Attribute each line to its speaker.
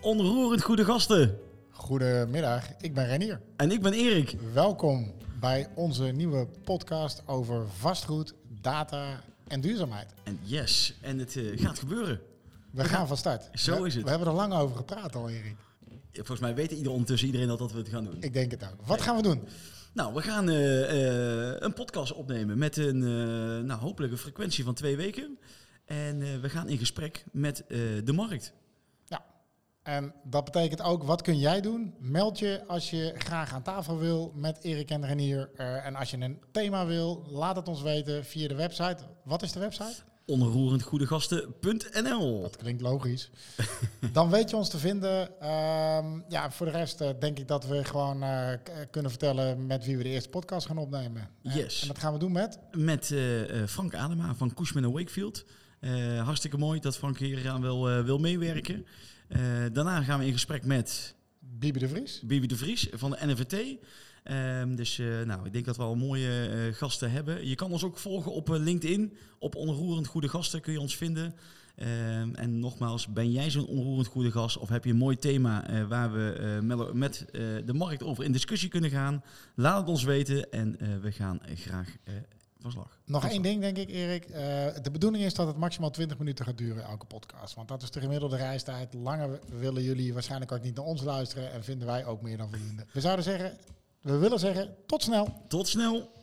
Speaker 1: onroerend goede gasten.
Speaker 2: Goedemiddag, ik ben Renier.
Speaker 1: En ik ben Erik.
Speaker 2: Welkom bij onze nieuwe podcast over vastgoed, data en duurzaamheid.
Speaker 1: En yes, en het eh, gaat gebeuren.
Speaker 2: We gaan van start.
Speaker 1: Zo
Speaker 2: We-
Speaker 1: is het.
Speaker 2: We hebben er lang over gepraat al, Erik.
Speaker 1: Volgens mij weet ieder ondertussen iedereen dat, dat we het gaan doen.
Speaker 2: Ik denk het ook. Wat gaan we doen?
Speaker 1: Nou, we gaan eh, eh, een podcast opnemen met een eh, nou, hopelijk een frequentie van twee weken. En eh, we gaan in gesprek met eh, de markt.
Speaker 2: Ja. Nou, En dat betekent ook, wat kun jij doen? Meld je als je graag aan tafel wil met Erik en Renier. Eh, en als je een thema wil, laat het ons weten via de website. Wat is de website?
Speaker 1: Onroerendgoedegasten.nl
Speaker 2: Dat klinkt logisch. Dan weet je ons te vinden. Ehm, ja, voor de rest eh, denk ik dat we gewoon eh, k- eh, kunnen vertellen met wie we de eerste podcast gaan opnemen. En-
Speaker 1: Yes.
Speaker 2: En dat gaan we doen met.
Speaker 1: Met eh, eh, Frank Adema van Cushman Wakefield. Eh, hartstikke mooi dat Frank hier aan wil, eh, wil meewerken. Eh, daarna gaan we in gesprek met...
Speaker 2: Bibi de Vries.
Speaker 1: Bibi de Vries van de NVT. Ehm, dus eh, nou, ik denk dat we al mooie eh, gasten hebben. Je kan ons ook volgen op eh, LinkedIn. Op Onroerend Goede Gasten kun je ons vinden. Ehm, en nogmaals, ben jij zo'n onroerend goede gast of heb je een mooi thema eh, waar we eh, mel- met eh, de markt over in discussie kunnen gaan? Laat het ons weten en eh, we gaan graag eh van slag.
Speaker 2: Nog één ding, denk ik, Erik. Eh, de bedoeling is dat het maximaal 20 minuten gaat duren, elke podcast. Want dat is de gemiddelde reistijd. Langer willen jullie waarschijnlijk ook niet naar ons luisteren. En vinden wij ook meer dan voldoende. We zouden zeggen, we willen zeggen, tot snel.
Speaker 1: Tot snel!